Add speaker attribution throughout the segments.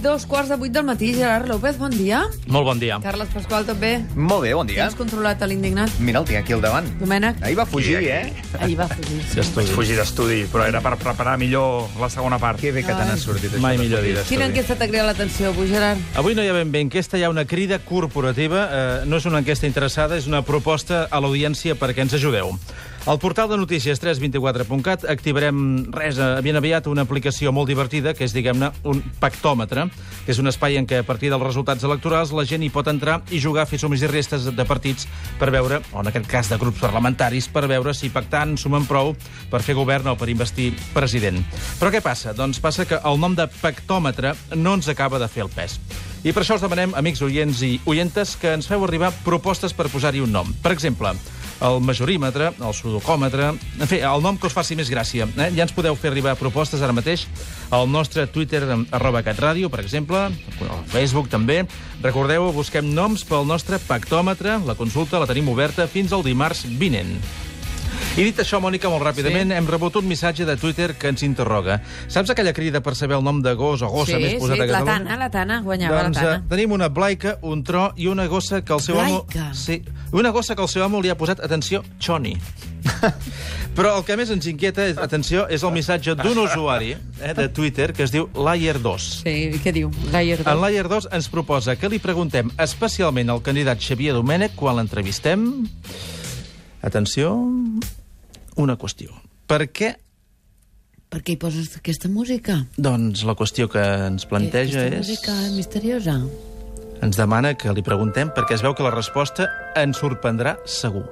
Speaker 1: dos quarts de vuit del matí. Gerard López, bon dia.
Speaker 2: Molt bon dia.
Speaker 1: Carles Pasqual, també.
Speaker 3: Molt bé, bon dia.
Speaker 1: Tens controlat a l'indignat?
Speaker 3: Mira, el tinc aquí al davant.
Speaker 1: Domènec?
Speaker 3: Ahir va fugir,
Speaker 4: Aquí,
Speaker 3: eh?
Speaker 4: aquí.
Speaker 1: Ahir va fugir. sí.
Speaker 2: D'estudi.
Speaker 4: Vaig fugir d'estudi, però era per preparar millor la segona part.
Speaker 3: Que bé que te n'ha sortit això.
Speaker 2: Mai
Speaker 3: de
Speaker 2: millor
Speaker 3: fugir
Speaker 2: dit.
Speaker 1: Quina
Speaker 3: d'estudi.
Speaker 1: enquesta t'ha cridat l'atenció avui, Gerard?
Speaker 2: Avui no hi ha ben bé enquesta, hi ha una crida corporativa. Eh, no és una enquesta interessada, és una proposta a l'audiència perquè ens ajudeu. Al portal de notícies 324.cat activarem res, eh, ben aviat, una aplicació molt divertida, que és, diguem-ne, un pactòmetre, que és un espai en què, a partir dels resultats electorals, la gent hi pot entrar i jugar a fer sumes i restes de partits per veure, o en aquest cas de grups parlamentaris, per veure si pactant sumen prou per fer govern o per investir president. Però què passa? Doncs passa que el nom de pactòmetre no ens acaba de fer el pes. I per això els demanem, amics oients i oientes, que ens feu arribar propostes per posar-hi un nom. Per exemple, el majorímetre, el sudocòmetre... En fi, el nom que us faci més gràcia. Eh? Ja ens podeu fer arribar propostes ara mateix al nostre Twitter, arroba catradio, per exemple, al Facebook també. Recordeu, busquem noms pel nostre pactòmetre. La consulta la tenim oberta fins al dimarts vinent. I dit això, Mònica, molt ràpidament, sí. hem rebut un missatge de Twitter que ens interroga. Saps aquella crida per saber el nom de gos o gossa Oh, més
Speaker 1: sí,
Speaker 2: posat
Speaker 1: sí,
Speaker 2: a
Speaker 1: la
Speaker 2: Catalunya?
Speaker 1: Tana, la Tana, guanyava
Speaker 2: doncs,
Speaker 1: la
Speaker 2: eh,
Speaker 1: Tana.
Speaker 2: tenim una blaica, un tro i una gossa que el seu
Speaker 1: Blaica?
Speaker 2: amo... Sí, una gossa que el seu amo li ha posat, atenció, Choni. Però el que més ens inquieta, és, atenció, és el missatge d'un usuari eh, de Twitter que es diu Layer2.
Speaker 1: Sí, i què diu? Gaire.
Speaker 2: En Layer 2 ens proposa que li preguntem especialment al candidat Xavier Domènech quan l'entrevistem... Atenció... Una qüestió. Per què
Speaker 1: Per què hi poses aquesta música?
Speaker 2: doncs la qüestió que ens planteja
Speaker 1: Eh, aquesta
Speaker 2: és...
Speaker 1: música misteriosa.
Speaker 2: Ens demana que li preguntem perquè es veu que la resposta ens sorprendrà segur.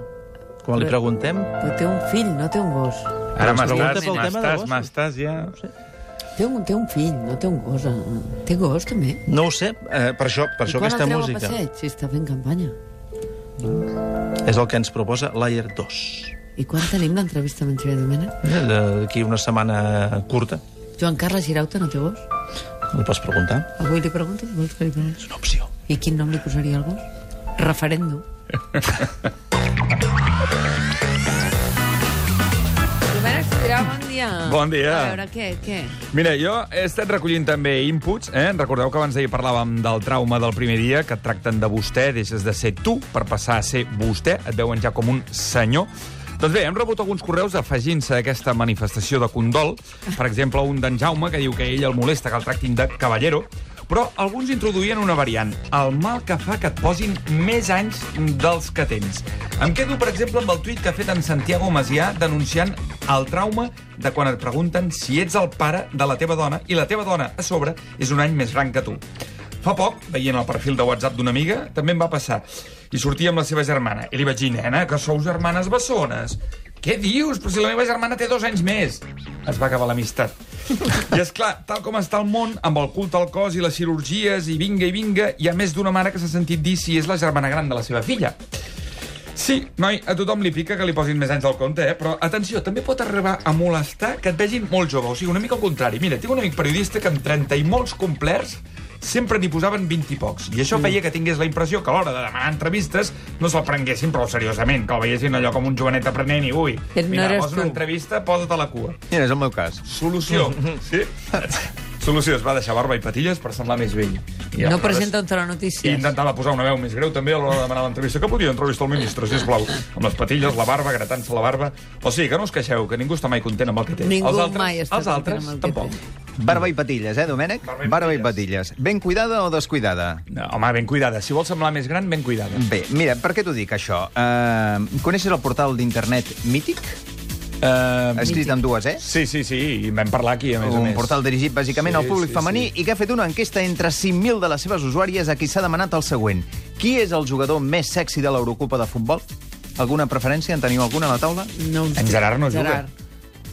Speaker 2: Quan li preguntem...
Speaker 1: Però té un fill, no té un gos.
Speaker 4: Ara
Speaker 2: Ens pregunta
Speaker 4: m'estàs,
Speaker 2: pel tema de
Speaker 4: m'estàs,
Speaker 2: gossos.
Speaker 4: m'estàs ja...
Speaker 1: Té un, té un fill, no té un gos. eh? Té gos, també.
Speaker 2: No ho sé, eh, per això, per
Speaker 1: I
Speaker 2: això
Speaker 1: quan el
Speaker 2: aquesta
Speaker 1: treu a
Speaker 2: música
Speaker 1: passeig, si està fent campanya.
Speaker 2: és el que ens proposa Layer 2.
Speaker 1: I quan tenim l'entrevista amb en Xavier Domènech?
Speaker 2: Eh, D'aquí una setmana curta.
Speaker 1: Joan Carles Girauta no té gos?
Speaker 2: Li pots preguntar?
Speaker 1: Avui li pregunto, vols que li pregunti?
Speaker 2: És una opció.
Speaker 1: I quin nom li posaria al gos? Referendo. Domènec Sobirà, bon dia.
Speaker 4: Bon dia.
Speaker 1: A veure, què, què?
Speaker 4: Mira, jo he estat recollint també inputs, eh? Recordeu que abans d'ahir parlàvem del trauma del primer dia, que et tracten de vostè, deixes de ser tu per passar a ser vostè, et veuen ja com un senyor. Doncs bé, hem rebut alguns correus afegint-se a aquesta manifestació de condol. Per exemple, un d'en Jaume, que diu que ell el molesta que el tractin de cavallero, però alguns introduïen una variant, el mal que fa que et posin més anys dels que tens. Em quedo, per exemple, amb el tuit que ha fet en Santiago Masià denunciant el trauma de quan et pregunten si ets el pare de la teva dona i la teva dona, a sobre, és un any més gran que tu. Fa poc, veient el perfil de WhatsApp d'una amiga, també em va passar. I sortia amb la seva germana. I li vaig dir, nena, que sou germanes bessones. Què dius? Però si la meva germana té dos anys més. Es va acabar l'amistat. I és clar, tal com està el món, amb el culte al cos i les cirurgies, i vinga i vinga, hi ha més d'una mare que s'ha sentit dir si és la germana gran de la seva filla. Sí, noi, a tothom li pica que li posin més anys al compte, eh? Però, atenció, també pot arribar a molestar que et vegin molt jove. O sigui, una mica al contrari. Mira, tinc un amic periodista que amb 30 i molts complerts sempre n'hi posaven 20 i pocs. I això feia que tingués la impressió que a l'hora de demanar entrevistes no se'l prenguessin prou seriosament, que el veiessin allò com un jovenet aprenent i, ui,
Speaker 1: Que no
Speaker 4: mira,
Speaker 1: eres
Speaker 4: vols una
Speaker 1: tu.
Speaker 4: entrevista, posa't a la cua.
Speaker 3: Mira, és el meu cas.
Speaker 4: Solució. Sí? Solució, es va deixar barba i patilles per semblar més vell. I
Speaker 1: no
Speaker 4: aleshores-
Speaker 1: presenta un tele
Speaker 4: i
Speaker 1: notícies.
Speaker 4: intentava posar una veu més greu també a l'hora de demanar l'entrevista. Que podria entrevistar el ministre, sisplau? Amb les patilles, la barba, gratant-se la barba... O sigui, que no us queixeu, que ningú està mai content amb el que té.
Speaker 1: Ningú
Speaker 4: els altres,
Speaker 1: mai està
Speaker 4: els altres,
Speaker 1: content amb el que
Speaker 4: tampoc.
Speaker 3: Barba i patilles, eh, Domènec?
Speaker 4: Barba i
Speaker 3: Barba i patilles. Ben cuidada o descuidada?
Speaker 4: No, home, ben cuidada. Si vols semblar més gran, ben cuidada.
Speaker 3: Bé, mira, per què t'ho dic, això? Uh, coneixes el portal d'internet Mític?
Speaker 4: Uh,
Speaker 3: Escrit amb dues, eh?
Speaker 4: sí, sí, sí, i en vam parlar aquí, a més a
Speaker 3: Un
Speaker 4: més.
Speaker 3: portal dirigit bàsicament
Speaker 4: Sí,
Speaker 3: al públic
Speaker 4: sí,
Speaker 3: femení i que ha fet una enquesta entre 5.000 de les seves usuàries a qui s'ha demanat el següent. Qui és el jugador més sexy de l'Eurocopa de futbol? Alguna preferència? En teniu alguna a la taula?
Speaker 1: No,
Speaker 4: En Gerard no juga. Ah.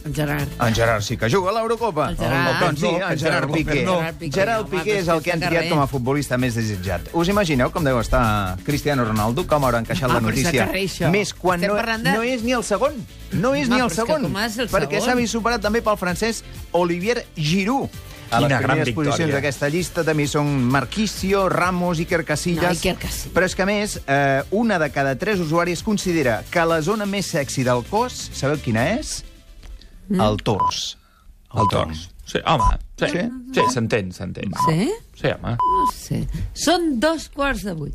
Speaker 1: Gerard. En Gerard.
Speaker 3: En Gerard sí que juga a l'Eurocopa.
Speaker 1: El Gerard.
Speaker 3: Doncs sí,
Speaker 4: No,
Speaker 3: en Gerard Piqué.
Speaker 4: no.
Speaker 3: Gerard Piqué, Gerard
Speaker 1: home,
Speaker 3: Piqué
Speaker 1: però
Speaker 3: és
Speaker 1: és
Speaker 3: el
Speaker 1: que
Speaker 3: que han
Speaker 1: està
Speaker 3: triat
Speaker 1: res.
Speaker 3: com a futbolista més desitjat. Us imagineu com deu estar Cristiano Ronaldo, com haurà encaixat
Speaker 1: Ah,
Speaker 3: la
Speaker 1: però és que
Speaker 3: notícia.
Speaker 1: carrer, això.
Speaker 3: Més quan
Speaker 1: Estem
Speaker 3: no,
Speaker 1: parlant de-
Speaker 3: no és ni el segon. No és
Speaker 1: Home,
Speaker 3: ni
Speaker 1: però
Speaker 3: el
Speaker 1: és que
Speaker 3: segon.
Speaker 1: Tomàs és el
Speaker 3: perquè
Speaker 1: segon.
Speaker 3: s'ha vist superat també pel francès Olivier Giroud. A les
Speaker 4: Quina gran
Speaker 3: primeres posicions
Speaker 4: victòria.
Speaker 3: d'aquesta llista també són Marquicio, Ramos, Iker Casillas...
Speaker 1: No, Iker Casillas.
Speaker 3: Però és que, a més, eh, una de cada tres usuaris considera que la zona més sexy del cos, sabeu quina és? Mm. El tors.
Speaker 4: El tors. Sí, home, sí,
Speaker 3: Sí?
Speaker 4: sí s'entén, s'entén.
Speaker 1: Sí?
Speaker 4: Sí, home.
Speaker 1: No sé. Són dos quarts de vuit.